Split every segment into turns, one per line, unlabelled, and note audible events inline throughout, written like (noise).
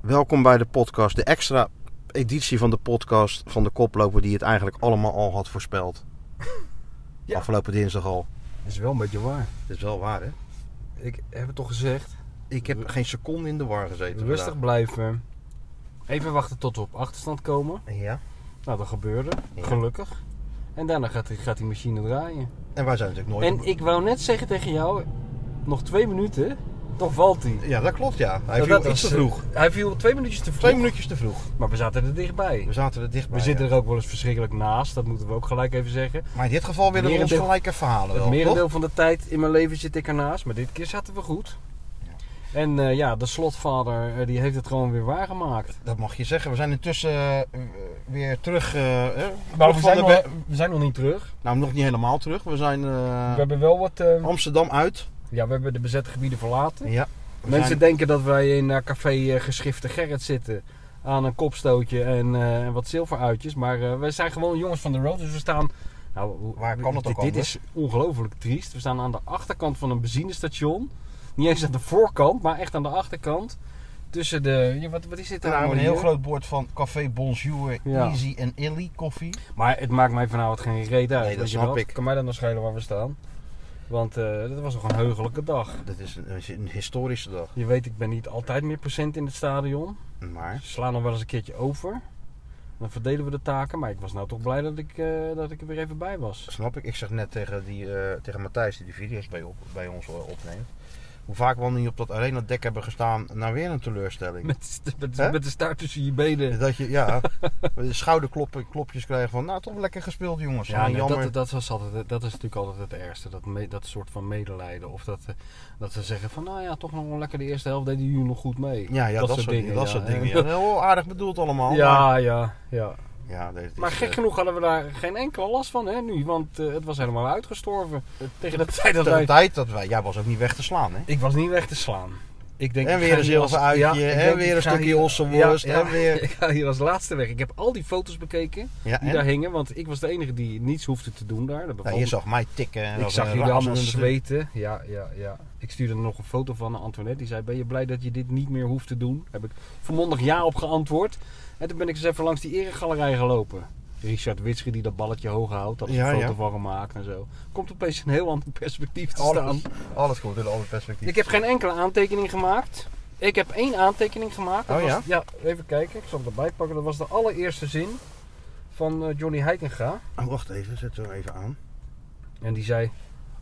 Welkom bij de podcast, de extra editie van de podcast van de koploper die het eigenlijk allemaal al had voorspeld.
(laughs) Ja.
Afgelopen dinsdag al.
Dat is wel een beetje waar.
Dat is wel waar, hè?
Ik heb het toch gezegd.
Ik heb geen seconde in de war gezeten.
Rustig blijven. Even wachten tot we op achterstand komen.
vandaag. Ja.
Nou, dat gebeurde.
Ja.
Gelukkig. En daarna gaat die, gaat die machine draaien.
En wij zijn natuurlijk nooit.
En ik wou net zeggen tegen jou, nog twee minuten, dan valt hij.
Ja, dat klopt, ja. Hij
Nou,
viel
dat
iets te
was-
vroeg.
Hij viel twee minuutjes te vroeg.
Twee minuutjes te vroeg.
Maar we zaten er dichtbij.
We
We
zaten er dichtbij.
zitten
ja.
er ook wel eens verschrikkelijk naast, dat moeten we ook gelijk even zeggen.
Maar in dit geval willen we ons
Merendeel-
gelijke verhalen
Het
wel,
merendeel
toch?
van de tijd in mijn leven zit ik ernaast, maar dit keer zaten we goed. En eh, ja, de slotvader eh, die heeft het gewoon weer waargemaakt.
Dat mag je zeggen. We zijn intussen eh, eh, weer terug. eh, eh, terug
Maar we
van
zijn,
de
nog,
be-
we zijn nog niet terug.
Nou, nog niet helemaal terug. We zijn eh,
We hebben wel wat. eh,
Amsterdam uit.
ja, we hebben de bezette gebieden verlaten.
Ja. We
Mensen
zijn-
denken dat wij in eh, café eh, Geschifte Gerrit zitten. Aan een kopstootje en eh, en wat zilveruitjes. Maar eh wij zijn gewoon jongens van de road. Dus we staan. Nou, hoe-
Waar kan het
dit,
ook
Dit is ongelooflijk triest. We staan aan de achterkant van een benzinestation. Niet eens aan de voorkant, maar echt aan de achterkant. Tussen de. ja, wat, wat is dit
Er hangt
nou?
een heel
hier?
groot bord van Café Bonjour,
Ja.
Easy en Illy koffie.
Maar het maakt mij vanavond geen reet uit.
Nee, dat
weet je
snap
wat?
ik.
Kan mij dan nog schelen waar we staan? Want eh dat was toch een heugelijke dag.
Dat is een, is een historische dag.
Je weet, ik ben niet altijd meer procent in het stadion.
Maar
Slaan nog wel eens een keertje over. Dan verdelen we de taken. Maar ik was nou toch blij dat ik, eh, dat ik er weer even bij was.
snap ik. Ik zeg net tegen, die, eh, tegen Matthijs, die de video's bij, op, bij ons eh, opneemt. Hoe vaak we al niet op dat arena dek hebben gestaan naar weer een teleurstelling.
Met, met,
Hè?
met de staart tussen je benen.
Dat je, ja, schouderkloppen, klopjes krijgen van, nou toch lekker gespeeld jongens.
Ja,
Ja,
nee,
jammer.
dat, dat, was altijd, dat is natuurlijk altijd het ergste. Dat, me- dat soort van medelijden. Of dat, eh, dat ze zeggen van nou ja, toch nog wel lekker de eerste helft deden jullie nog goed mee.
ja, ja, dat, soort dingen. Dat
ja.
soort dingen.
(laughs)
Ja, heel aardig bedoeld allemaal. maar-
Ja, ja, ja.
ja dit is,
Maar gek
eh,
genoeg hadden we daar geen enkele last van hè, nu, want eh, het was helemaal uitgestorven. Eh, Tegen de tijd
tegen
dat
de
wij...
tijd dat wij, jij was ook niet weg te slaan hè.
Ik was niet weg te slaan. Ik denk,
En
ik
weer
ga
een
hier
zilver
als-
uitje,
ik
en
denk,
weer
ik
een
ga
stukje
hier-
ossenworst,
ja, ja.
en weer-
(laughs) Ik ga hier als laatste weg. Ik heb al die foto's bekeken
Ja,
die
en?
daar hingen, want ik was de enige die niets hoefde te doen daar. Dat
Nou, je zag mij tikken. en eh,
ik
als
zag
een
jullie allemaal
razende-
zweten. Ja, ja, ja. Ik stuurde nog een foto van aan Antoinette. Die zei, ben je blij dat je dit niet meer hoeft te doen? Heb ik volmondig ja op geantwoord. En toen ben ik eens even langs die eregalerij gelopen. Richard Witsche die dat balletje hoog houdt. Had er
Ja,
een foto
ja. Oh,
van gemaakt en zo. Komt opeens een heel ander perspectief te
Alles,
staan.
alles komt in alle perspectief.
Ik heb geen enkele aantekening gemaakt. Ik heb één aantekening gemaakt. Dat
Oh,
was-
ja?
even kijken. Ik zal hem erbij pakken. Dat was de allereerste zin van eh, Johnny Heitinga.
Oh, wacht even, zet hem even aan.
En die zei,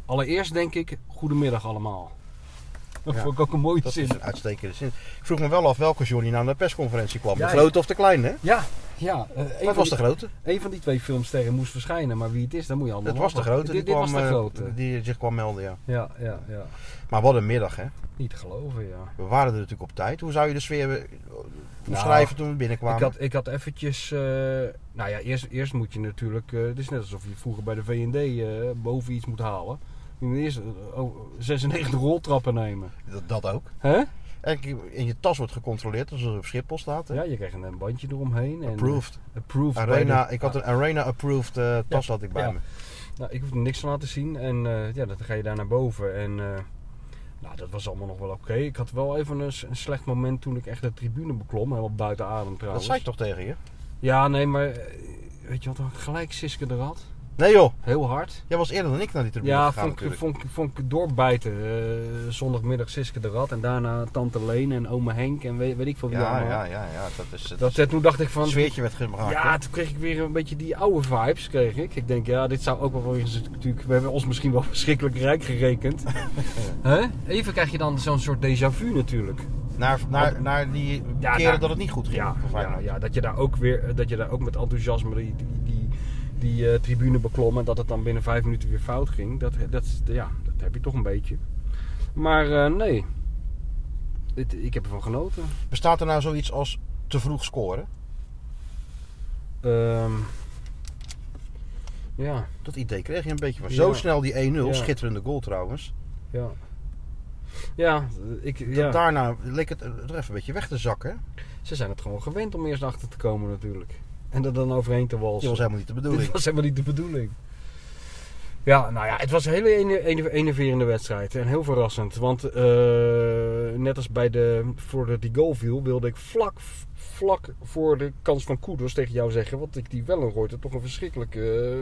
allereerst denk ik, goedemiddag allemaal. (laughs) Dat
Ja.
vond ik ook een mooie
Dat
zin.
is een uitstekende zin. Ik vroeg me wel af welke Johnny nou naar de persconferentie kwam.
Ja,
de
ja.
grote of de kleine? hè?
Ja, ja. eh, een,
Dat
van
was de
die,
grote.
een van die twee filmsterren moest verschijnen, maar wie het is, dat moet je allemaal
Dat was de
wachten.
grote.
Dit, dit
kwam,
was de
eh,
grote.
die zich kwam melden, ja.
Ja, ja, ja.
Maar wat een middag, hè.
Niet te geloven, ja.
We waren er natuurlijk op tijd. Hoe zou je de sfeer eh, omschrijven
Nou,
toen we binnenkwamen?
Ik had, ik had eventjes... eh, nou ja, eerst, eerst moet je natuurlijk... eh, het is net alsof je vroeger bij de V&D eh, boven iets moet halen. Je moet eerst eh, oh, 96 roltrappen nemen.
Dat, dat ook.
Hè?
En ik- in je tas wordt gecontroleerd als er op Schiphol staat. hè.
Ja, je krijgt een bandje eromheen. En, eh,
Approved.
Approved. bij
Arena,
de-
ik had een Arena-approved eh, tas had ik bij
ja.
me.
Nou, ik hoef er niks van laten zien. En eh, ja, dan ga je daar naar boven. En eh, nou, dat was allemaal nog wel oké. Ik had wel even een, s- een slecht moment toen ik echt de tribune beklom. Helemaal buiten adem
Dat
trouwens.
zei ik toch tegen je?
Ja, nee, maar eh, weet je wat dan gelijk Siske er had?
Nee joh,
Heel hard.
jij was eerder dan ik naar die tribune
Ja,
gegaan
vond ik,
natuurlijk.
vond, ik- vond ik doorbijten. Eh, zondagmiddag Siske de Rad en daarna Tante Leen en ome Henk en weet, weet ik veel wie
Ja,
allemaal.
ja, ja, ja, dat is het.
Dat, eh, toen dacht ik van,
Het sfeertje werd gemaakt.
Ja, toen kreeg ik weer een beetje die oude vibes. Kreeg ik. ik denk, ja, dit zou ook wel weer eens natuurlijk. We hebben ons misschien wel (laughs) verschrikkelijk
(laughs)
rijk gerekend. Hè? Even krijg je dan zo'n soort déjà vu natuurlijk.
Naar, naar, naar die
Ja,
keren
naar-
dat het niet goed ging.
Ja,
voor
ja,
Feyenoord.
ja, dat je daar ook weer eh, dat je daar ook met enthousiasme die, die, die, die eh, tribune beklom en dat het dan binnen vijf minuten weer fout ging. Dat, dat, is- ja, dat heb je toch een beetje. Maar eh, nee. Dit- ik heb ervan genoten.
Bestaat er nou zoiets als te vroeg scoren?
Ehm, ja,
Dat idee kreeg je een beetje van.
Ja.
Zo snel die 1-0,
Ja.
schitterende goal trouwens.
ja. Ja, ik,
Dat
ja.
Daarna leek het er even een beetje weg te zakken. hè?
Ze zijn het gewoon gewend om eerst achter te komen natuurlijk. En er dan overheen te
Dat
walsen.
was helemaal niet de
Dit
bedoeling.
was helemaal niet de bedoeling. Ja, nou ja, het was een hele ene- ene- enerverende wedstrijd. En heel verrassend. Want eh, net als bij de, voordat die goal viel, wilde ik vlak, vlak voor de kans van Koeders tegen jou zeggen... wat ik die Wellenreuter toch een verschrikkelijk eh,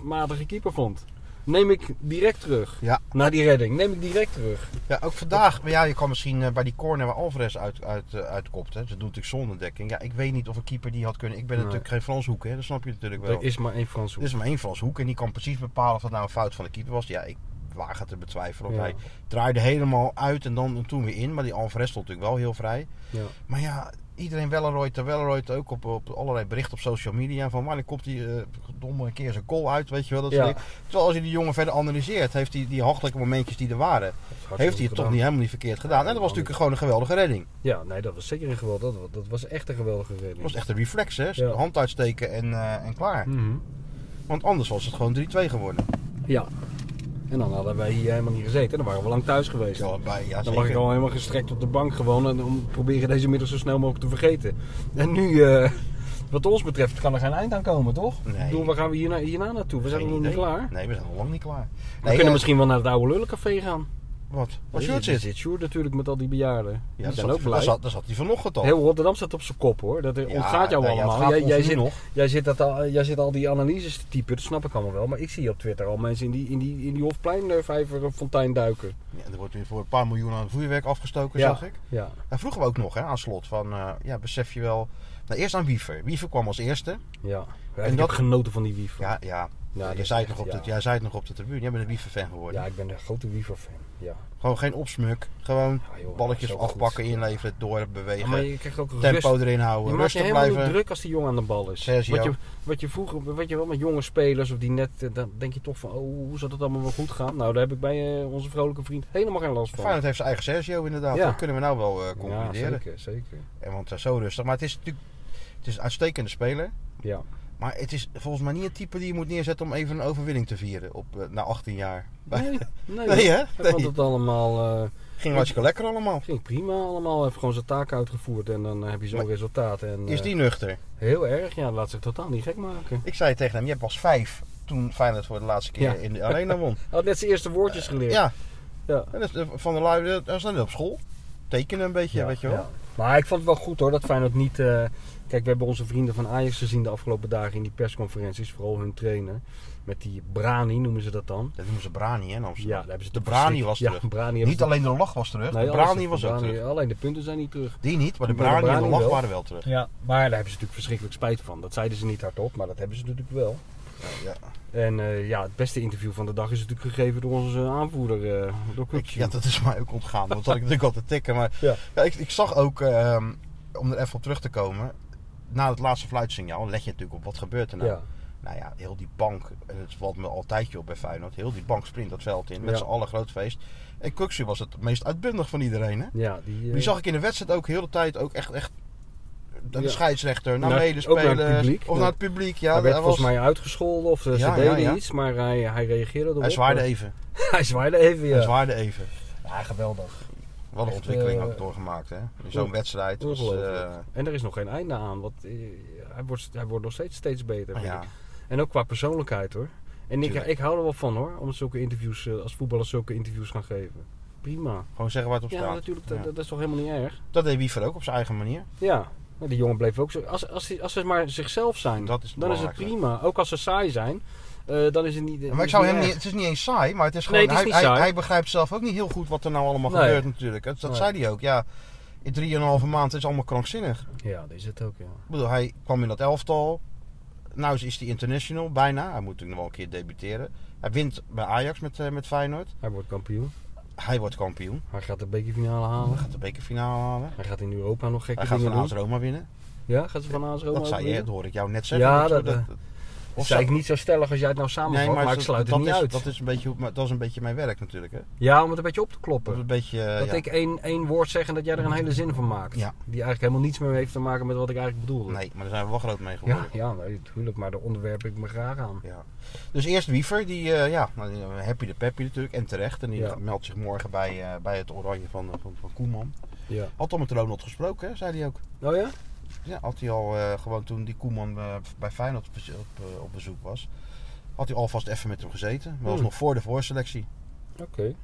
matige keeper vond. Neem ik direct terug.
Ja.
Na die redding, neem ik direct terug.
Ja, ook vandaag. Maar ja, je kan misschien eh, bij die corner waar Alvarez uit, uit, eh, uitkopt. Hè. Ze doen natuurlijk zonder dekking. Ja, ik weet niet of een keeper die had kunnen. Ik ben
Nee.
natuurlijk geen Frans Hoek, hè. Dat snap je natuurlijk wel.
Er is maar één Frans
Er is maar één Frans Hoek en die kan precies bepalen of dat nou een fout van de keeper was. Ja, ik waag het te betwijfelen. Of
Ja.
Hij draaide helemaal uit en dan en toen weer in. Maar die Alvarez stond natuurlijk wel heel vrij.
Ja.
Maar ja, iedereen Welleroyte, Welleroyte ook op, op allerlei berichten op social media. Van wanneer komt die eh, domme een keer zijn goal uit, weet je wel. Dat soort
Ja.
dingen. Terwijl als je die jongen verder analyseert, heeft hij die hachelijke momentjes die er waren... heeft hij het toch niet helemaal niet verkeerd gedaan. En dat was natuurlijk gewoon een geweldige redding.
Ja, nee, dat was zeker een geweldig. Dat, wa- dat was echt een geweldige redding.
Dat was echt een reflex, hè.
Mm. Ja.
Hand uitsteken en, eh, en klaar.
Mhm.
Want anders was het gewoon 3-2 geworden.
Ja. En dan hadden wij hier helemaal niet gezeten. Dan waren we lang thuis geweest.
Ja, bij, ja,
Dan lag ik
zeker.
al helemaal gestrekt op de bank gewoon en om proberen deze middag zo snel mogelijk te vergeten. En nu, eh, wat ons betreft, kan er geen eind aan komen, toch?
Nee.
Ik bedoel, waar gaan we hierna, hierna naartoe? We zijn
Geen
nog niet
idee.
klaar.
Nee, we zijn nog lang niet klaar.
we
Nee,
kunnen
eh,
misschien wel naar het oude lullencafé gaan.
Wat? Wat
Hier
Sjoerd
zit-
zit?
zit Sjoerd natuurlijk met al die bejaarden.
Ja,
die
daar
zijn
zat-
ook blij.
Daar zat, daar zat hij vanochtend al.
Heel Rotterdam staat op zijn kop hoor. Dat eh,
Ja,
ontgaat jou
nou ja, het
allemaal.
gaat
jij,
ons
jij
nu
zit,
nog.
Jij, zit dat al, jij zit al die analyses te typen, dat snap ik allemaal wel. Maar ik zie op Twitter al mensen in die, in die, in die Hofplein eh, vijver eh, fontein duiken.
Ja, er wordt weer voor een paar miljoen aan vuurwerk afgestoken,
Ja.
zag ik.
Ja.
Daar vroegen we ook nog hè, aan slot van, eh, ja, besef je wel... Nou, eerst aan Wiever. Wiever kwam als eerste.
ja. En
dat-
dat genoten van die wief.
Ja, ja.
dat
jij,
is
zei het
echt,
nog op
ja.
de, jij zei het nog op de tribune. Jij bent een Wiever-fan geworden.
Ja, ik ben een grote Wiever-fan. Ja.
Gewoon geen opsmuk. Gewoon
Ja, joh,
balletjes
dat is ook
afpakken,
goed.
inleveren,
Ja,
doorbewegen.
maar je krijgt ook rust.
tempo erin
Je
houden,
maakt je
rustig
helemaal niet
blijven.
druk als die jongen aan de bal is.
Sergio.
Wat je, wat je vroeger, wat je wel met jonge spelers of die net, eh, dan denk je toch van, oh, hoe zal dat allemaal wel goed gaan? Nou, daar heb ik bij eh, onze vrolijke vriend helemaal geen last van.
Feyenoord heeft zijn eigen Sergio inderdaad.
Ja.
Dat kunnen we nou wel eh,
ja,
concluderen.
zeker, zeker.
en want eh, zo rustig. Maar het is natuurlijk het is een uitstekende speler.
Ja.
Maar het is volgens mij niet het type die je moet neerzetten om even een overwinning te vieren op, eh, na 18 jaar. (laughs)
Nee, nee.
Nee, hè?
Hij
Nee.
vond het allemaal, eh,
Ging hartstikke lekker allemaal.
ging prima allemaal. Hij heeft gewoon zijn taak uitgevoerd en dan eh, heb je zo'n
Maar
resultaat. En,
Is
eh,
die nuchter?
heel erg, ja, laat zich totaal niet gek maken.
Ik zei tegen hem, jij was vijf toen Feyenoord voor de laatste keer
Ja.
in de arena
(laughs)
won.
Hij had net zijn eerste woordjes geleerd.
Ja,
ja.
en dat is, eh, van de lui, dat dat is dan op school. Tekenen een beetje,
Ja,
weet je wel.
ja. Maar ik vond het wel goed hoor, dat Feyenoord niet... eh, Kijk, we hebben onze vrienden van Ajax gezien de afgelopen dagen in die persconferenties. Vooral hun trainer. Met die Brani noemen ze dat dan.
Dat noemen ze Brani hè, in Amsterdam.
Ja, daar hebben ze
de
toch
Brani
verschrik-
was
ja,
terug.
Brani hebben
Niet
ze-
alleen de lach was terug,
Nee,
de
alles
Brani
is-
was ook
Brani-
terug.
Alleen de punten zijn niet terug.
Die niet, maar de
Maar de
Brani en de
Brani
lach
wel.
waren wel terug.
Ja. Maar daar hebben ze natuurlijk verschrikkelijk spijt van. Dat zeiden ze niet hardop, maar dat hebben ze natuurlijk wel.
Ja,
En eh, ja, het beste interview van de dag is natuurlijk gegeven door onze aanvoerder, eh, door
Ik-
Kutsu.
ja, dat is mij ook ontgaan. Want dat had ik natuurlijk altijd tikken. Maar ja.
Ja.
ik, ik zag ook, ehm, om er even op terug te komen. Na het laatste fluitsignaal let je natuurlijk op wat gebeurt er nou.
Ja.
Nou ja, heel die bank. En het valt me altijd op bij Feyenoord. Heel die bank sprint dat veld in. Met
Ja.
z'n allen groot feest. En Kuksu was het meest uitbundig van iedereen. Hè?
Ja, die, eh,
Die zag ik in de wedstrijd ook heel de tijd ook echt... echt de
Ja.
scheidsrechter, naar
Naar-
medespelers.
ook naar het publiek.
Of naar het publiek, ja.
hij werd
hij, was,
volgens mij uitgescholden of eh, ze
Ja, ja,
deden
ja.
iets, maar hij, eh, hij reageerde erop.
hij
(laughs)
zwaarde even.
hij zwaaide even, ja.
Hij zwaarde even.
Ja, geweldig.
Wat een
Echt,
ontwikkeling
eh,
ook doorgemaakt, hè? In zo'n
on-
wedstrijd. dat is, eh,
Ongelooflijk. En er is nog geen einde aan, want eh, hij, wordt, hij wordt nog steeds, steeds beter. vind
Oh, nou ja.
ik. En ook qua persoonlijkheid hoor. En ik,
Tuurlijk.
ik hou er wel van hoor, om zulke interviews, eh, als voetballers zulke interviews gaan geven. Prima.
Gewoon zeggen waar het op
Ja,
staat.
natuurlijk,
Ja.
dat, dat is toch helemaal niet erg?
Dat deed Wiever ook op zijn eigen manier.
Ja, maar die jongen bleef ook zo. Als, als, die- als ze maar zichzelf zijn,
Dat is het
dan is het
belangrijkste.
prima. Ook als ze saai zijn, eh, dan is het niet.
Maar ik
is
zou hem
erg.
niet, het is niet eens saai, maar het is gewoon,
Nee, het is
hij,
niet
hij,
saai.
hij begrijpt zelf ook niet heel goed wat er nou allemaal
Nee.
gebeurt natuurlijk. Dat, dat
Nee.
zei hij ook, ja. In drieënhalve maand is allemaal krankzinnig.
Ja, dat is het ook, ja.
Ik bedoel, hij kwam in dat elftal. Nou is hij international, bijna. Hij moet natuurlijk nog wel een keer debuteren. Hij wint bij Ajax met, eh, met Feyenoord.
Hij wordt kampioen.
Hij wordt kampioen.
Hij gaat de bekerfinale halen.
Gaat de bekerfinale halen.
Hij gaat in Europa nog gekke
Hij gaat
dingen
van AS
doen.
Roma winnen.
Ja, gaat ze van AS Roma
Dat zei je,
winnen?
dat hoor ik jou net zeggen.
Ja,
natuurlijk.
dat, eh,
of
Dat
zou-
zei ik niet zo stellig als jij het nou samenvat, maar, ik
dat-
sluit
dat
het niet
is,
uit.
Dat is, een beetje, hoe- maar dat is een beetje mijn werk natuurlijk. Hè?
Ja, om het een beetje op te
Dat, is
kloppen.
een beetje, eh,
Dat
ja.
ik één, één woord zeg en dat jij er een hele zin van maakt.
Ja.
Die eigenlijk helemaal niets meer heeft te maken met wat ik eigenlijk bedoelde.
Nee, maar daar zijn we wel groot mee geworden.
Ja, ja nee, natuurlijk, maar daar onderwerp ik me graag aan.
Ja. Dus eerst Wiever, die eh, ja, nou, die, eh, happy de peppy natuurlijk en terecht. En die
Ja.
meldt zich morgen bij, eh, bij het oranje van, van, van Koeman.
Ja.
Had al met Ronald gesproken, hè, zei hij ook.
Oh ja?
Ja, had hij al eh, gewoon toen die Koeman eh, bij Feyenoord op, bezo- op, eh, op bezoek was. Had hij alvast even met hem gezeten. Maar was
Hmm.
nog voor de voorselectie.
Oké. Nou,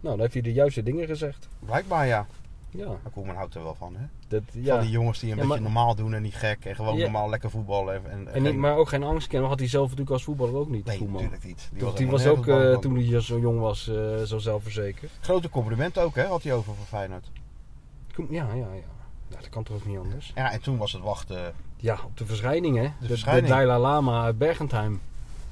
dan heeft hij de juiste dingen gezegd.
Blijkbaar ja.
Ja.
Maar Koeman houdt er wel van, hè?
Dat,
Van
ja.
die jongens die een
Ja,
beetje
maar-
normaal doen en niet gek. En gewoon
Ja.
normaal lekker voetballen. En, en,
en niet,
eh, geen-
maar ook geen angst kennen. Had hij zelf natuurlijk als voetballer ook niet.
Nee,
Koeman.
natuurlijk niet.
Die was, die
helemaal
was ook
nergens
eh,
bang van.
toen hij hier zo jong was, eh, zo zelfverzekerd.
Grote complimenten ook, hè? Had hij over voor Feyenoord.
Kom- Ja, ja, ja. Ja, dat kan toch ook niet anders.
Ja, en toen was het wachten.
Ja, op de verschijning, hè? De, de,
verschijning.
Dalai Lama uit Bergentheim.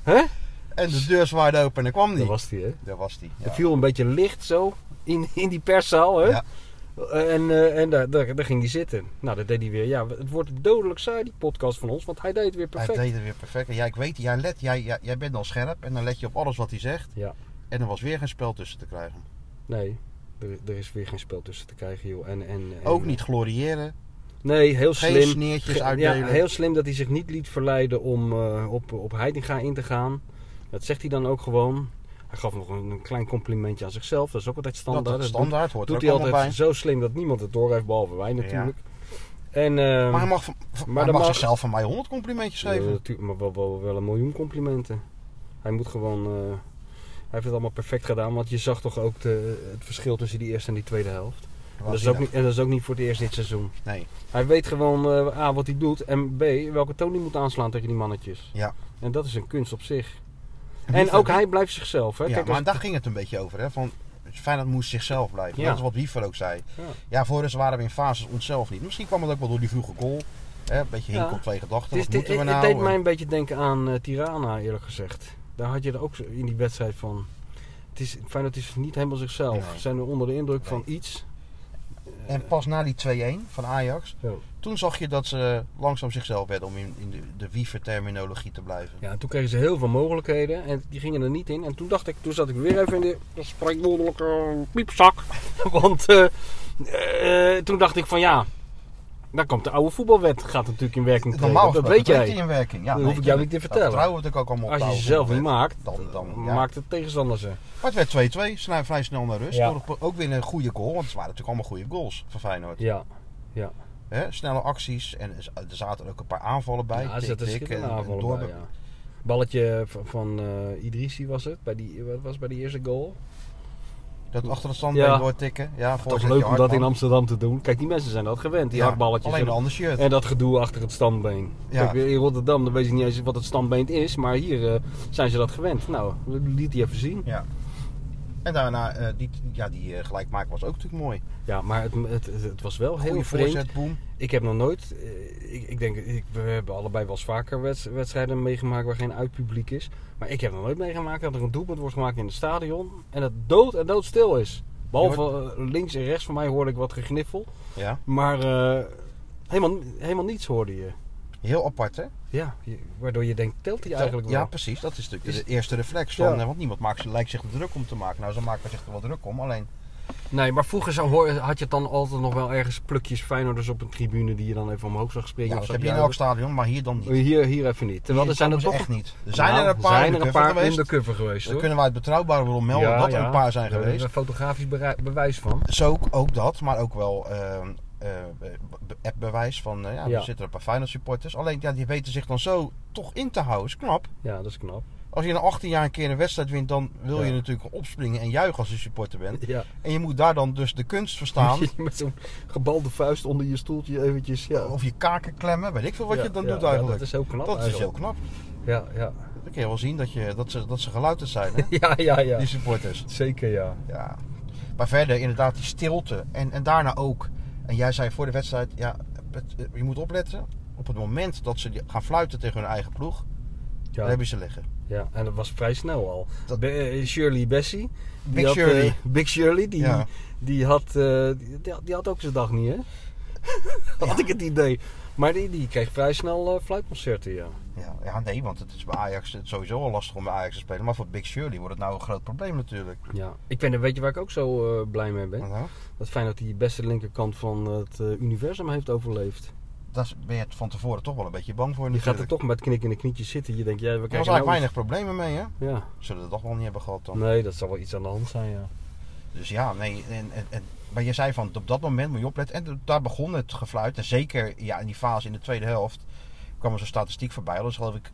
En de deur zwaaide open en daar kwam
Daar
hij.
was hij, hè?
Daar was hij.
Er
Ja.
viel een beetje licht zo in, in die perszaal, hè?
Ja.
En, eh, en daar, daar, daar ging hij zitten. Nou, dat deed hij weer. Ja, het wordt dodelijk saai, die podcast van ons, want hij deed het weer perfect.
Hij deed het weer perfect. En Ja, ik weet, jij, let, jij, jij, jij bent al scherp en dan let je op alles wat hij zegt.
Ja.
En er was weer geen spel tussen te krijgen.
Nee, er, er is weer geen spel tussen te krijgen, joh. En, en, en-
Ook niet gloriëren.
Nee, heel
Geen
slim.
sneertjes
Ge-
uitdelen.
Ja, heel slim dat hij zich niet liet verleiden om eh, op, op Heidinga in te gaan. Dat zegt hij dan ook gewoon. Hij gaf nog een, een klein complimentje aan zichzelf. Dat is ook altijd standaard.
dat, dat
doet-
standaard hoort
doet
er
hij
ook allemaal
altijd
bij.
zo slim dat niemand het door heeft, behalve wij natuurlijk. En, ehm,
Maar hij mag, van- van-
maar
hij
dan
mag
mag-
zichzelf van mij 100 complimentjes
ja,
geven.
natuurlijk, maar wel, wel, wel een miljoen complimenten. Hij moet gewoon. eh, hij heeft het allemaal perfect gedaan, want je zag toch ook de, het verschil tussen die eerste en die tweede helft.
Was
Dat is
hij
ook
dan.
niet, en dat is ook niet voor het eerst dit seizoen.
Nee.
Hij weet gewoon eh, A wat hij doet en B welke toon hij moet aanslaan tegen die mannetjes.
Ja.
En dat is een kunst op zich.
En
En,
Wiefeld-
ook hij blijft zichzelf. Hè?
Ja,
Kijk,
maar
als-
daar ging het een beetje over. Hè? Van, Feyenoord moest zichzelf blijven.
Ja.
Dat is wat Wiever ook zei.
Ja.
Ja, voor ze waren we in fases onszelf niet. Misschien kwam het ook wel door die vroege goal. Hè? Een beetje hink
Ja.
op twee gedachten.
het, is-
Wat moeten
het-
we
het deed
nou?
mij een beetje denken aan eh, Tirana eerlijk gezegd. Daar had je er ook zo- in die wedstrijd van. Het is, Feyenoord is niet helemaal zichzelf.
Nee.
Ze zijn er onder de indruk van
Nee.
iets.
En pas na die 2-1 van Ajax,
Ja.
toen zag je dat ze langzaam zichzelf werden om in, in de, de Wiever-terminologie te blijven.
Ja, en toen kregen ze heel veel mogelijkheden en die gingen er niet in. En toen dacht ik, toen zat ik weer even in de spreekwoordelijke eh, piepzak. (laughs) Want eh, eh, toen dacht ik van ja, dan komt de oude voetbalwet, gaat natuurlijk in werking treden.
Normaal
Dat
gesproken
weet jij.
die in werking. Ja,
Dat
nee,
hoef ik jou
tuurlijk.
niet te
Dat
vertellen.
vertrouwen we natuurlijk ook allemaal op
Als je
de
ze
oude
zelf niet
voetbalwet.
maakt,
dan, dan, ja.
maakt het tegenstander ze.
Maar het werd 2-2, snij vrij snel naar rust.
Ja.
Door- Ook weer een goede goal, want het waren natuurlijk allemaal goede goals van Feyenoord.
Ja,
Hè, snelle acties en er zaten ook een paar aanvallen bij.
ja ze zetten schitterende
en- en
aanvallen
door-
bij, ja. Balletje van, van eh, Idrissi was het, bij die, wat was bij die eerste goal.
Dat achter de standbeen
Ja.
doortikken. Ja,
Toch
voorzetje
leuk om dat
Hartman.
in Amsterdam te doen. Kijk, die mensen zijn dat gewend, die
Ja,
hakballetjes.
Alleen
en-
een ander shirt.
En dat gedoe achter het standbeen.
Ja.
Kijk, in Rotterdam dan weet je niet eens wat het standbeen is, maar hier eh, zijn ze dat gewend. Nou, liet hij even zien.
Ja. En daarna, eh, die, ja, die eh gelijkmaak was ook natuurlijk mooi.
Ja, maar het, het, het- het was wel heel
Goeie
vreemd.
voorzet, boom.
Ik heb nog nooit, eh, ik, ik denk, ik, we hebben allebei wel eens vaker weds- wedstrijden meegemaakt waar geen uitpubliek is. Maar ik heb nog nooit meegemaakt dat er een doelpunt wordt gemaakt in het stadion en dat dood en doodstil is. Behalve eh, links en rechts van mij hoorde ik wat gegniffel,
Ja.
maar eh, helemaal, helemaal niets hoorde je.
Heel apart, hè?
Ja, je- waardoor je denkt, telt hij eigenlijk wel?
Ja, precies. Dat is natuurlijk
Is-
de eerste reflex. Van,
Ja.
eh, Want niemand maakt, zich- lijkt zich er druk om te maken. Nou, ze maken zich er wel druk om. Alleen,
Nee, maar vroeger zou, hoor- had je dan altijd nog wel ergens plukjes Feyenoorders op een tribune die je dan even omhoog zag springen.
ja,
of
Nou, dat
zo.
heb je in
Ja, Oh,
elk stadion, maar hier dan niet.
Hier, hier even niet. Terwijl er
Hier
zijn er
komen
toch
ze echt niet. Er zijn
Nou,
er een paar,
zijn
in
er
de
een
cover
paar
geweest.
undercover geweest
Dan
hoor.
kunnen wij het betrouwbare wel melden dat er
ja.
een paar zijn
Daar
geweest.
hebben we fotografisch berei- bewijs van.
Zo Dus ook, ook dat, maar ook wel ehm, eh, be- be- appbewijs van eh, ja,
Ja.
er zitten een paar Feyenoord supporters. Alleen ja, die weten zich dan zo toch in te houden. Is knap.
Ja, dat is knap.
(laughs) Als je na 18 jaar een keer een wedstrijd wint, dan wil
Ja.
je natuurlijk opspringen en juichen als je supporter bent.
(laughs) Ja.
En je moet daar dan dus de kunst verstaan.
Met zo'n gebalde vuist onder je stoeltje eventjes. (laughs) Ja.
Of je kaken klemmen, weet ik veel Oh, wat
Ja,
je dan
ja,
doet
ja,
eigenlijk.
dat is heel knap
Dat is heel
eigenlijk.
knap.
Ja, ja. (laughs)
Dan kun je wel zien dat, je, dat, ze, dat ze geluid zijn, hè?
Ja, ja, (laughs) ja.
die supporters.
Zeker ja.
Ja. Maar verder inderdaad die stilte. En, en daarna ook. En jij zei voor de wedstrijd, ja, het- eh, je moet opletten. Op het moment dat ze die- gaan fluiten tegen hun eigen ploeg, dan
Ja,
heb je ze liggen.
ja. En dat was vrij snel al.
Dat-
Be- eh, Shirley Bessie. die
Big
had, eh,
Shirley.
Big Shirley, die,
Ja.
die, had, eh, die, die had- die had ook zijn dag (laughs) niet, hè? had ik het idee. Maar die, die kreeg vrij snel eh, fluitconcerten, ja.
Ja, ja, nee, want het is bij Ajax het is sowieso al lastig om bij Ajax te spelen. Maar voor Big Shirley wordt het nou een groot probleem natuurlijk.
ja. Ik ben, weet je waar ik ook zo eh, blij mee ben?
Nou,
Dat fijn dat die beste linkerkant van het eh, universum heeft overleefd.
daar ben je van tevoren toch wel een beetje bang voor
Je gaat
natuurlijk.
er toch met knikkende knietjes zitten. Je denkt, ja, we
er was
krijgen
eigenlijk
nou
weinig problemen mee, hè?
iets-
Zullen we dat toch wel niet hebben gehad
Ja.
dan?
Nee, dat zal wel iets aan de hand zijn, ja.
Dus ja, nee. En, en, en- maar je zei van op dat moment moet je opletten. En daar begon het gefluit. En zeker ja, in die fase in de tweede helft kwam er zo'n statistiek voorbij. Dat was geloof ik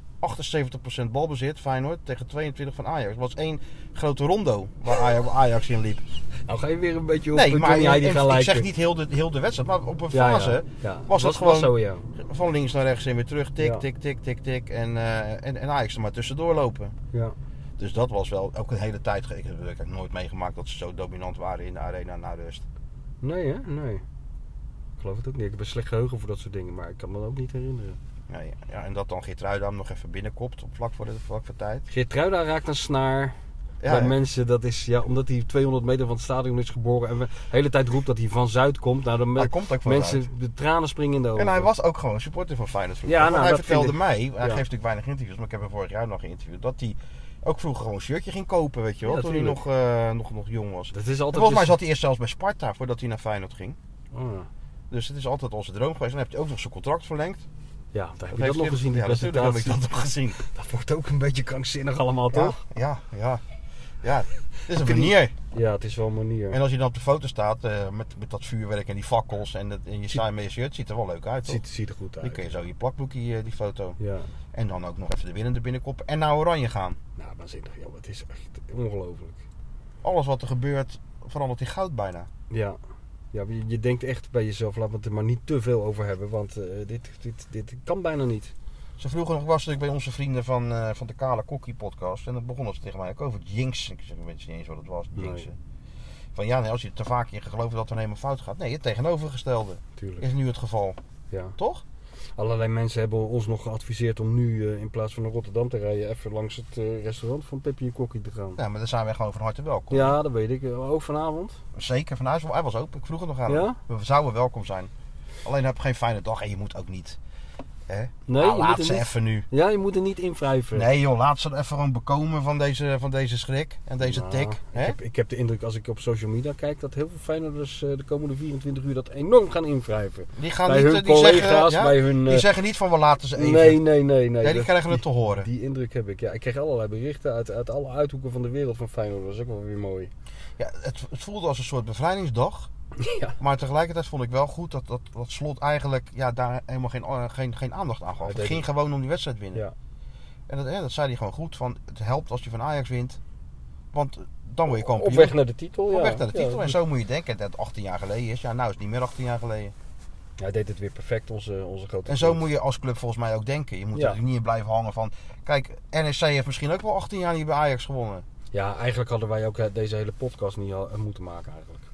78% balbezit, Feyenoord, tegen 22 van Ajax. Het was één grote rondo waar Ajax, Ajax in liep.
Nou ga je weer een beetje op
Nee, maar
Johnny Heidi
ik-
gaan
ik,
lijken.
zeg niet heel de, heel de wedstrijd, maar op een
Ja, ja,
fase
ja.
was het gewoon
zo, ja.
van links naar rechts en weer terug. Tik,
Ja.
tik, tik, tik, tik. En, eh, en, en Ajax er maar tussendoor lopen.
ja.
Dus dat was wel ook een hele tijd. ge- Ik heb ik heb nooit meegemaakt dat ze zo dominant waren in de arena na rust.
Nee, hè? Nee. Ik geloof het ook niet. Ik heb een slecht geheugen voor dat soort dingen, maar ik kan me dat ook niet herinneren.
Nee, ja, en dat dan Geertruida hem nog even binnenkopt op vlak voor, de, vlak voor tijd.
Geertruida raakt een snaar
Ja,
bij
ja.
mensen. Dat is, ja, omdat hij 200 meter van het stadion is geboren en we de hele tijd roept dat hij van Zuid komt. Nou, dan
hij
me-
komt ook van
mensen,
Zuid.
de tranen springen in de ogen.
En hij was ook gewoon een supporter van Feyenoord vroeger.
Ja,
Want
nou,
hij
dat
vertelde
vind ik-
mij, hij
ja.
geeft natuurlijk weinig interviews, maar ik heb hem vorig jaar nog geïnterviewd, dat hij ook vroeger gewoon een shirtje ging kopen, weet je wel,
Ja,
toen hij nog,
tuurlijk.
eh, nog, nog jong was.
Dat is
En
altijd...
Volgens mij
dus-
zat hij eerst zelfs bij Sparta voordat hij naar Feyenoord ging.
Oh, ja.
Dus het is altijd onze droom geweest. En dan heb hij ook nog zijn contract verlengd.
ja, daar heb je
heeft
dat nog
hij-
gezien, die
Ja, natuurlijk heb ik
presentatie.
dat nog gezien.
Dat wordt ook een beetje krankzinnig allemaal,
Ja,
toch?
ja, ja. Ja, het is een manier.
Ja, het is wel een manier.
En als je dan op de foto staat eh, met, met dat vuurwerk en die fakkels en, dat, en je saai met je shirt, ziet er wel leuk uit.
Het
Toch?
ziet, ziet er goed
Dan
uit.
kun je zo je plakboekje, eh, die foto.
Ja.
En dan ook nog even de winnende binnenkoppen en naar Oranje gaan.
Nou, waanzinnig. Ja, maar het is echt ongelooflijk.
Alles wat er gebeurt verandert in goud bijna.
Ja. Ja, maar je, je denkt echt bij jezelf, laat me het er maar niet te veel over hebben, want eh, dit, dit, dit kan bijna niet.
Ze vroegen nog, was ik bij onze vrienden van, eh, van de Kale Kokkie podcast. En dan begonnen ze tegen mij ook over jinxen. Ik zeg, ik weet niet eens wat het was,
Nee.
jinxen. Van ja, nee, als je er te vaak in gelooft dat er helemaal fout gaat. Nee, het tegenovergestelde
Tuurlijk.
is nu het geval,
Ja.
toch?
Allerlei mensen hebben ons nog geadviseerd om nu eh, in plaats van naar Rotterdam te rijden, even langs het eh, restaurant van Pippi en Kokkie te gaan.
Ja, maar daar zijn wij gewoon van harte welkom.
Ja, dat weet ik. Eh, Ook vanavond.
Zeker, van huis, hij was open. Ik vroeg het nog aan
Ja?
hem. We zouden welkom zijn. Alleen heb geen fijne dag en je moet ook niet. Hè?
Nee,
Ah,
je
laat
moet
ze
er niet,
even nu.
ja, je moet er niet in wrijven.
Nee joh, laat ze even gewoon bekomen van deze, van deze schrik en deze
Nou,
tik.
Ik
Hè?
heb, ik heb de indruk als ik op social media kijk dat heel veel Feyenoorders eh, de komende 24 uur dat enorm gaan invrijven.
Die gaan
bij
Nou, niet, eh,
hun
die
collega's,
zeggen, ja,
bij hun... eh,
die zeggen niet van we laten ze even.
nee, nee, nee, nee.
Nee, die
Dat-
krijgen het te horen.
Die indruk heb ik. Ja, ik kreeg allerlei berichten uit, uit alle uithoeken van de wereld van Feyenoord. Dat is ook wel weer mooi.
Ja, het, het voelde als een soort bevrijdingsdag.
(laughs) Ja.
Maar tegelijkertijd vond ik wel goed dat, dat, dat slot eigenlijk ja, daar helemaal geen, eh, geen, geen aandacht aan gaf.
Hij
Het
deed
ging gewoon om die wedstrijd winnen.
Ja.
En dat, ja, dat zei hij gewoon goed. Van, het helpt als je van Ajax wint. Want dan word je kampioen.
Op weg naar de titel, ja.
Op weg naar de titel.
Ja.
En zo moet je denken dat het 18 jaar geleden is. Ja, nou is het niet meer 18 jaar geleden.
Hij deed het weer perfect, onze, onze grote
En zo
vriend.
moet je als club volgens mij ook denken. Je moet
Ja.
er niet in blijven hangen van... Kijk, NEC heeft misschien ook wel 18 jaar niet bij Ajax gewonnen.
Ja, eigenlijk hadden wij ook eh, deze hele podcast niet al- eh, moeten maken eigenlijk.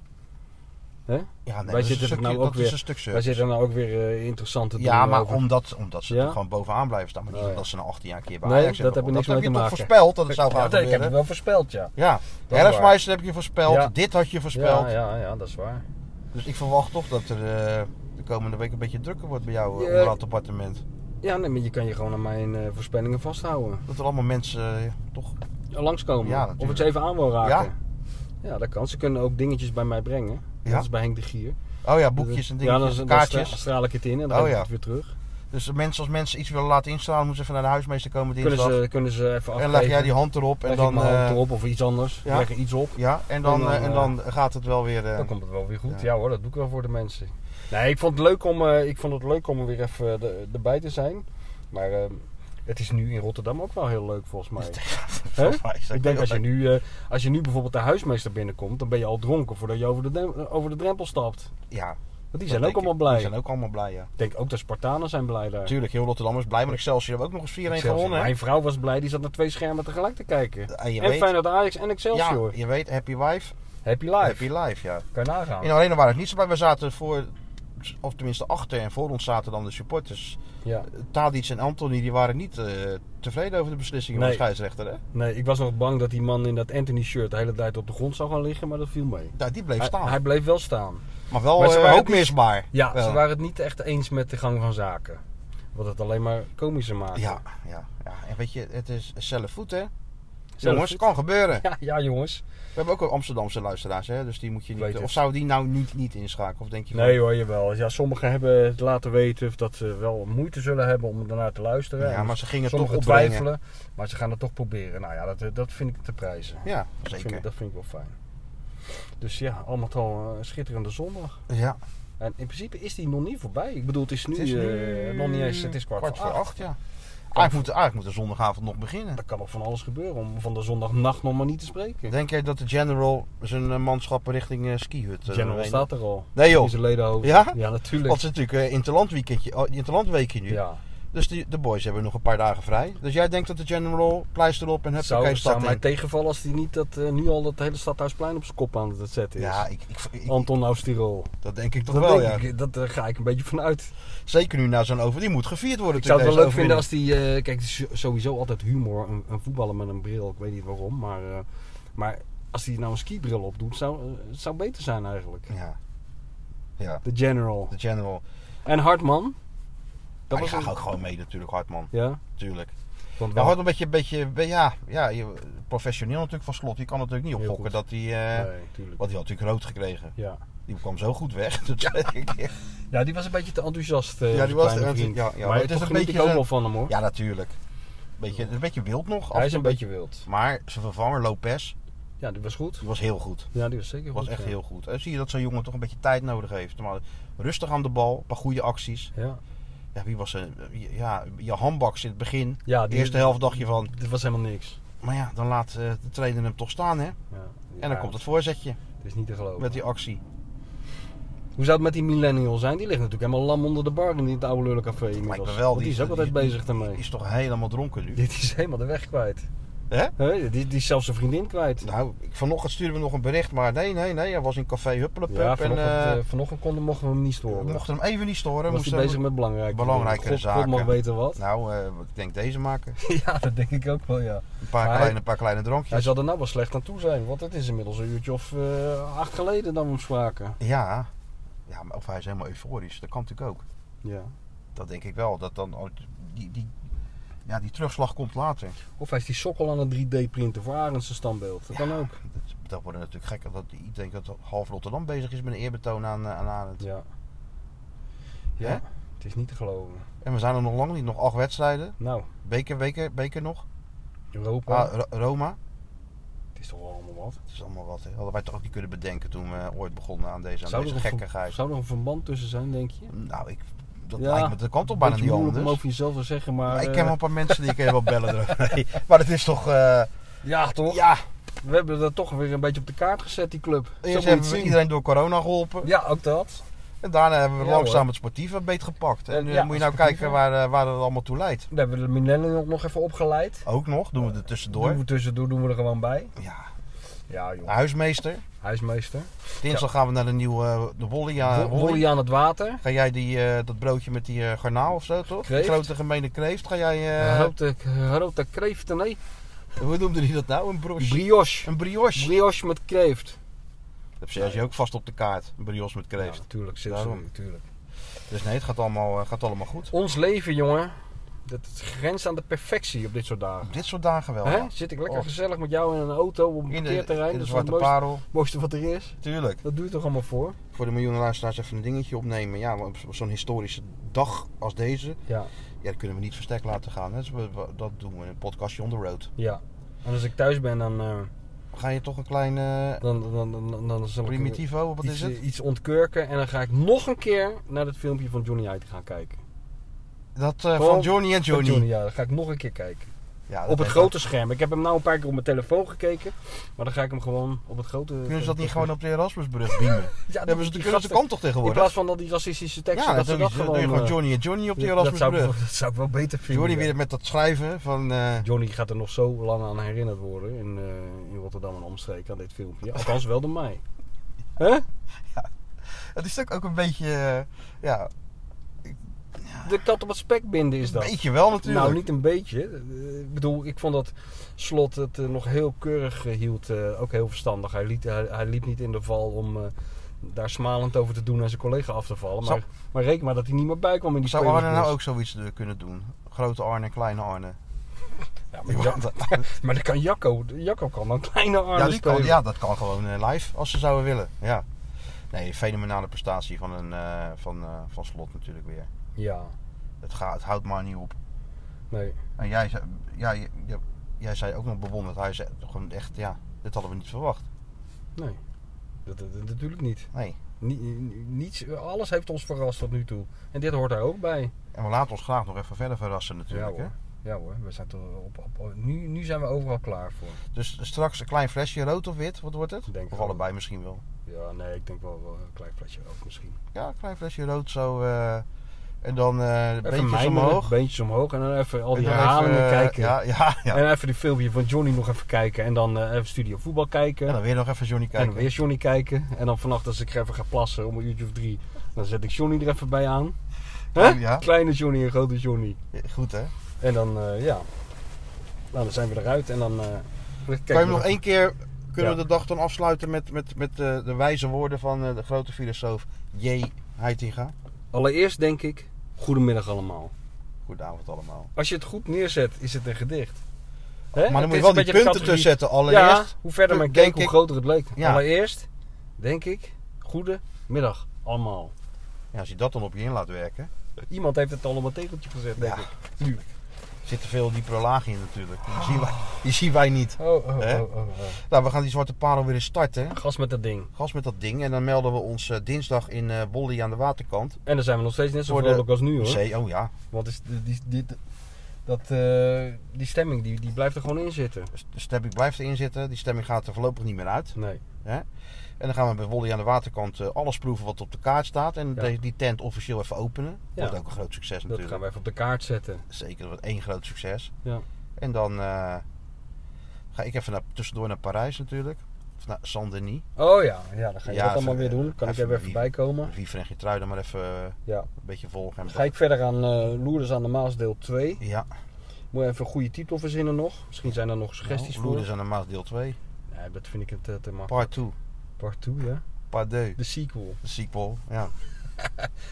Ja, nee,
Wij
dat, is een,
zitten er
stukje,
nou
dat
ook
is
weer-
een stuk
Wij
surf.
zitten nou ook weer eh, interessant te doen.
Ja, maar
over-
omdat, omdat ze
Ja?
er gewoon bovenaan blijven staan. Maar niet
Oh, ja.
omdat ze na 18 jaar een keer bij
Nee,
Ajax
dat
hebben
heb je
gewonnen.
niks
Dat
mee
heb
te
je toch voorspeld dat het zou
Ja,
gaan
dat- ik heb het
gebeuren?
wel voorspeld, ja.
Ja,
is waar.
herfstmeister heb je voorspeld.
Ja.
Dit had je voorspeld.
Ja, ja, ja, dat is waar.
Dus ik verwacht toch dat er eh, de komende week een beetje drukker wordt bij jou eh,
Ja.
onder aan het appartement.
Ja, nee, maar je kan je gewoon aan mijn eh, voorspellingen vasthouden.
Dat er allemaal mensen eh, toch...
Ja, Langskomen.
Ja,
of
natuurlijk.
het ze even aan wil raken. Ja. dat kan. Ze kunnen ook dingetjes bij mij brengen.
Ja?
Dat is bij Henk de Gier.
Oh ja, boekjes en
Ja, dan,
dingetjes,
dan
kaartjes.
stra- straal ik het in en dan
Oh,
heb ik
ja.
het weer terug.
Dus mensen, als mensen iets willen laten instaan, moeten ze even naar de huismeester komen
Kunnen
dinsdag.
ze, kunnen ze
en
even afgeven.
leg jij die hand erop
Leg
en
ik
dan,
mijn hand
eh,
erop of iets anders.
ja.
Leg er iets op.
ja, en dan,
En dan,
eh, en dan gaat het wel weer. eh,
Dan
(laughs)
komt het wel weer goed.
Ja.
Ja, hoor, dat doe ik wel voor de mensen. Nee, ik vond het leuk om, eh, ik vond het leuk om er weer even eh, de- erbij te zijn. Maar eh, het is nu in Rotterdam ook wel heel leuk volgens mij.
volgens mij is dat
Ik denk
heel
als je,
leuk.
nu, eh, als je nu bijvoorbeeld de huismeester binnenkomt, dan ben je al dronken voordat je over de, drem- eh, over de drempel stapt.
Ja,
Want die
dat
zijn
denk
ook allemaal
ik.
blij.
Die zijn ook allemaal blij, ja.
Ik denk ook de Spartanen zijn blij daar.
Natuurlijk, heel Rotterdam is blij, maar Excelsior hebben ook nog eens 4-1
Excelsior.
gewonnen. hè?
Mijn vrouw was blij, die zat naar twee schermen tegelijk te kijken.
En je
en
weet,
Feyenoord Ajax en Excelsior.
Ja, je weet, happy wife,
Happy life.
happy life, ja.
Kan je nagaan.
In de arena waren het niet zo blij. We zaten voor, of tenminste achter en voor ons zaten dan de supporters.
Ja.
Tadic en Anthony, die waren niet eh, tevreden over de beslissingen van de
Nee.
scheidsrechter, hè?
Nee, ik was nog bang dat die man in dat Anthony shirt de hele tijd op de grond zou gaan liggen, maar dat viel mee.
Ja, die bleef
Hij,
staan.
hij bleef wel staan.
maar wel
maar
maar
ze waren
ook
niet-
misbaar.
Ja,
Wel.
ze waren het niet echt eens met de gang van zaken. Wat het alleen maar komischer maakt.
Ja, ja, ja. En weet je, het is zelf voet, hè?
Zelf
Jongens,
goed.
kan gebeuren.
(laughs) Ja, ja, jongens.
We hebben ook wel Amsterdamse luisteraars, hè? Dus die moet je
Weet
niet...
het.
Of zou die nou niet, niet inschakelen? Of denk je van-
Nee hoor, jawel. Ja, sommigen hebben het laten weten dat ze wel moeite zullen hebben om ernaar te luisteren.
Ja,
En
maar ze gingen toch
sommigen
opbrengen.
twijfelen, maar ze gaan het toch proberen. Nou ja, dat, dat vind ik te prijzen.
Ja,
Dat vind,
zeker.
ik, dat vind ik wel fijn. Dus ja, allemaal al eh, een schitterende zondag.
Ja.
En in principe is die nog niet voorbij. Ik bedoel, het is nu,
Het is nu eh,
eh, nog niet eens, het is kwart,
Kwart voor acht, ja. Eigenlijk moet, eigenlijk moet de zondagavond nog beginnen.
Er kan nog van alles gebeuren, om van de zondagnacht nog maar niet te spreken.
Denk jij dat de General zijn eh, manschappen richting eh skihut... eh,
General
weet-
staat er al.
Nee, joh.
In zijn ledenhoofd.
Ja?
Ja, natuurlijk.
Want het is natuurlijk eh interlandweekendje, oh, interlandweekje nu.
Ja.
Dus die, de boys hebben nog een paar dagen vrij. Dus jij denkt dat de General pleister op en hebt
zou,
een
zou
stad
mij
in.
tegenvallen als hij niet dat, eh, nu al dat hele stadhuisplein op zijn kop aan het zetten is.
Ja, ik, ik, ik-
Anton Oosterol.
dat denk ik toch
Dat
wel, ja.
denk ik, eh, dat, daar ga ik een beetje van uit.
Zeker nu na zo'n over. Die moet gevierd worden.
Ik zou het wel leuk
natuurlijk,
vinden
deze
als die. eh, kijk, het is sowieso altijd humor. Een, een voetballer met een bril, ik weet niet waarom. Maar, eh, maar als hij nou een skibril opdoet, zou, eh, het zou beter zijn eigenlijk.
overwinning. Ja. ja,
De General.
de General.
En Hartman.
Dat ik ga
een-
ook gewoon mee natuurlijk, Hartman.
Ja,
Natuurlijk.
want
Ja,
wel.
Hartman een beetje, een beetje ja, ja, je- professioneel natuurlijk van slot. Die kan natuurlijk niet
Heel
opgokken dat
goed.
hij... eh
nee, tuurlijk.
Want die had natuurlijk rood gekregen.
Ja.
Die kwam zo goed weg. (laughs) Dat weet ik.
ja, die was een beetje te enthousiast. eh,
Ja,
onze
die was te
kleine
enthousi-
vriend.
ja, ja,
maar
het
het
is
is
een
een beetje
beetje
ook
zo-
wel van hem hoor.
ja, natuurlijk. Beetje, een beetje wild nog. af
Hij
en
is
toe.
een beetje wild.
Maar zijn vervanger Lopez
Ja, die was goed.
die was heel goed.
Ja, die was zeker goed.
was echt
ja.
heel goed. En zie je dat zo'n jongen toch een beetje tijd nodig heeft. Maar rustig aan de bal, een paar goede acties.
Ja.
Ja, wie was er? Ja, je handbaks in het begin.
Ja,
De
die,
eerste helft dacht je van.
Dit was helemaal niks.
Maar ja, dan laat eh, de trainer hem toch staan, hè?
Ja.
En dan komt het voorzetje
Het is niet te geloven.
met die actie.
Hoe zou het met die millennial zijn? Die ligt natuurlijk helemaal lam onder de bar in dit oude lullencafé
Lijkt
inmiddels.
me
Want
wel.
Die, is ook altijd bezig daarmee.
Die is toch helemaal dronken nu?
Dit is helemaal de weg kwijt.
Hè?
Hè? Die, die is zelfs zijn vriendin kwijt.
Nou, ik- vanochtend stuurden we nog een bericht, maar nee, nee, nee. Hij was in café Huppelepup.
ja,
en
vanochtend,
eh,
eh, vanochtend konden, mochten we hem niet
we
storen.
mochten hem even niet storen.
was hij
moesten
bezig met belangrijke
belangrijkere
dingen. God, God mag
zaken.
weten wat. (laughs)
Nou, eh, ik denk deze maken.
ja, dat denk ik ook wel, ja.
Een paar,
Maar hij-
kleine, een paar kleine
Hij
drankjes.
zal er nou wel slecht aan toe zijn, want het is inmiddels een uurtje of eh, acht geleden dat we hem spraken.
Ja. ja, maar of hij is helemaal euforisch. Dat kan natuurlijk ook.
Ja.
Dat denk ik wel. Dat dan, ook- die, die, ja, die terugslag komt later.
Of hij is die sokkel aan het 3D-printen voor Arendse standbeeld. Dat kan
Ja,
ook.
Dat, dat wordt natuurlijk gek. Dat, ik denk dat half Rotterdam bezig is met een eerbetoon aan, eh, aan Arend.
Ja.
Hè?
Ja, het is niet te geloven.
En we zijn er nog lang niet. Nog acht wedstrijden.
Nou,
Beker, beker, beker nog.
Europa,
Ah, Ro- Roma.
het is toch wel allemaal wat.
Het is allemaal wat. Hè. Hadden wij toch ook niet kunnen bedenken toen we eh, ooit begonnen aan deze, aan
Zou er,
deze
een ver-
gekkigheid.
zou er een verband tussen zijn, denk je?
Nou, ik, dat
Ja,
lijkt me. Dat kan toch bijna
Beetje
niet
moeilijk om
anders.
over jezelf te zeggen, maar...
ik
eh,
ken wel een paar mensen die ik even wel bellen.
(laughs)
erover. Nee, maar het is toch... eh,
Ja, toch?
ja,
We hebben dat toch weer een beetje op de kaart gezet, die club. Zo moet
eerst
je het
hebben we
zien.
iedereen door corona geholpen.
Ja, ook dat.
En daarna hebben we
Ja,
langzaam
hoor.
het sportieve beet gepakt. En
Ja,
eh,
ja,
moet je nou
sportieve.
kijken waar, eh, waar het allemaal toe leidt.
We hebben we de millennial nog even opgeleid.
Ook nog, doen we er tussendoor.
Doen we tussendoor doen we er gewoon bij.
Ja,
Ja, joh.
huismeester.
Huismeester.
Dinsdag gaan we naar de nieuwe eh, de Wolly. eh,
Wo-
Wolly.
Wolly aan het water.
Ga jij die, eh, dat broodje met die eh, garnaal of zo, toch?
Kreeft.
Die grote gemene kreeft. Ga jij... eh,
Grote, grote kreeften, nee.
Hoe noemde hij dat nou? Een brioche?
Brioche.
Een brioche.
Brioche met kreeft.
Dat zet je ook vast op de kaart. Een brioche met kreeft.
Ja, natuurlijk. zit
Daarom.
zo, natuurlijk.
Dus nee, het gaat allemaal, eh, gaat allemaal goed.
Ons leven, jongen, dat het grenst aan de perfectie op dit soort dagen.
Op dit soort dagen wel.
Hè?
ja.
Zit ik lekker
Och.
gezellig met jou in een auto op een
In de,
parkeerterrein.
in de
dat is
zwarte
wel het mooiste,
parel.
mooiste wat er is.
Tuurlijk.
Dat duurt toch allemaal voor?
Voor de miljoenen luisteraars even een dingetje opnemen. Ja, want op zo'n historische dag als deze.
Ja.
Ja, dat kunnen we niet verstek laten gaan. Hè? Dus we- we- dat doen we in een podcastje on the road.
ja. En als ik thuis ben, dan, eh,
Ga je toch een klein eh,
dan, dan, dan, dan, dan zal ik
primitivo, wat is
iets,
het?
eh, iets ontkurken. En dan ga ik nog een keer naar dat filmpje van Johnny Hyde gaan kijken.
Dat eh,
Gewoon
van Johnny en
Van
Johnny.
ja. Dan ga ik nog een keer kijken.
Ja, dat
op het
weet
grote scherm. Ik heb hem nou een paar keer op mijn telefoon gekeken. Maar dan ga ik hem gewoon op het grote...
ik. Kunnen ze dat niet gewoon op de Erasmusbrug beamen? Dan
Ja, die-
hebben ze
die
de kunst
gasten-
kant toch
In
tegenwoordig?
plaats van dat die racistische teksten,
ja, dat
dat ze
doe
dat
je- doe
gewoon...
je gewoon
eh,
Johnny en Johnny op de
dat, zou ik, wel-
Erasmusbrug.
dat zou ik wel beter vinden.
Johnny
ja.
weer met dat schrijven van... eh,
Johnny gaat er nog zo lang aan herinnerd worden in, eh, in Rotterdam en omstreken aan dit filmpje. Althans wel door mij. Hè?
het is natuurlijk ook een beetje... eh, ja,
De kat op het spek binden is dat.
een beetje wel natuurlijk.
Nou, niet een beetje. Eh, Ik bedoel, ik vond dat Slot het eh, nog heel keurig eh, hield. eh, ook heel verstandig. Hij, liet, hij, hij liep niet in de val om eh, daar smalend over te doen en zijn collega af te vallen. Maar,
Zou-
maar reken maar dat hij niet dus. meer bij kwam in die
Zou Arne nou
spelersbus.
ook zoiets eh, kunnen doen? Grote Arne, kleine Arne.
Ja, maar, ja, (laughs) maar dat kan Jacco. Jacco kan dan kleine armen
Ja, die kan,
spelen.
ja, dat kan gewoon eh, live als ze zouden willen. Ja. Nee, fenomenale prestatie van, een, eh, van, eh, van slot natuurlijk weer.
Ja,
Het, gaat, het houdt maar niet op.
nee.
En jij, zei- ja, je- je- jij zei ook nog bewonderd. Hij zei gewoon echt, ja, dit hadden we niet verwacht.
Nee. Dat, dat- dat- natuurlijk niet.
Nee.
Ni- ni- niets, alles heeft ons verrast tot nu toe. En dit hoort daar ook bij.
En we laten ons graag nog even verder verrassen natuurlijk.
Ja,
hè?
hoor. Ja hoor, we zijn toch op, op- op- nu, nu zijn we overal klaar voor.
Dus straks een klein flesje rood of wit, wat wordt het?
Denk
of
wel.
allebei misschien wel.
Ja, nee, ik denk wel wel een klein flesje rood misschien.
Ja, een klein flesje rood zo. eh, en dan eh beentjes
mijmeren,
omhoog.
Beentjes omhoog en dan even al die
En dan
herhalingen
even, eh,
kijken.
Ja, ja, ja.
En even die filmpje van Johnny nog even kijken. En dan eh, even Studio Voetbal kijken.
En dan weer nog even Johnny
En
kijken.
dan weer Johnny kijken. En dan vannacht als ik even ga plassen om een uurtje of drie, dan zet ik Johnny er even bij aan. Hè?
Oh, ja.
Kleine Johnny en grote Johnny.
Goed hè?
En dan, eh, ja. Nou, dan zijn we eruit en dan... eh, dan
kan
kijken
je
we
hem nog
even-
één keer, kunnen
Ja.
we de dag dan afsluiten met, met, met eh, de wijze woorden van eh, de grote filosoof J. Heitinga?
Allereerst denk ik, goedemiddag allemaal.
Goedenavond allemaal.
Als je het goed neerzet, is het een gedicht. Hè?
Maar dan
Het
moet
is
je wel
een
die
beetje
punten
de
tussen
categorie-
zetten. Allereerst,
Ja, hoe verder men
denk
keek, hoe
ik-
groter het leek.
Ja.
Allereerst, denk ik, goedemiddag allemaal.
ja, als je dat dan op je in laat werken,
Iemand heeft het allemaal tegeltje gezet, denk
Ja.
ik. Nu.
zit er veel diepere lagen in natuurlijk. Die, zien wij, die zien wij niet.
Oh, oh,
Hè?
oh, oh, oh.
Nou, we gaan die zwarte parel weer eens starten.
Gas met dat ding.
Gas met dat ding en dan melden we ons eh, dinsdag in eh Bolly aan de waterkant.
En dan zijn we nog steeds net zo
Voor de-
vrolijk als nu hoor.
Zee, oh ja,
Want is, die, die, die- dat, eh, die stemming die, die blijft er gewoon in zitten.
de stemming blijft erin zitten. Die stemming gaat er voorlopig niet meer uit.
Nee.
En dan gaan we bij Wolly aan de waterkant eh, alles proeven wat op de kaart staat. En
Ja.
de- die tent officieel even openen.
Ja.
Wordt ook een groot succes
Dat
natuurlijk.
gaan we even op de kaart zetten.
Zeker wat één groot succes.
Ja.
En dan eh, ga ik even naar, tussendoor naar Parijs natuurlijk. Of naar Saint-Denis.
Oh ja, ja dan ga je
Ja,
dat allemaal
even,
weer doen.
eh,
Kan ik
even
er weer even
wie-
bij komen.
Wiever en Gertruida maar even eh,
Ja.
een beetje volgen. En
Ga ik verder aan eh Loerders aan de Maas deel 2.
Ja,
Moet je even een goede titel verzinnen nog. Misschien zijn er nog suggesties
nou, Loerders
voor.
aan de Maas deel 2.
Nee, dat vind ik het eh, te, te makkelijk.
Part 2.
Part 2, ja.
Part 2.
De sequel.
De sequel. Ja,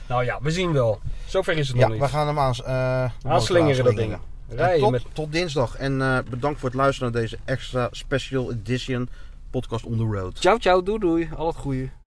Nou ja, we zien wel. Zover is het
ja
nog
we
niet.
gaan hem aan, eh,
Aanslingeren dat ding.
En
Rijden
tot,
met...
tot dinsdag. En eh, bedankt voor het luisteren naar deze extra special edition podcast on the road.
Ciao, ciao, doei, doei. Al het goede.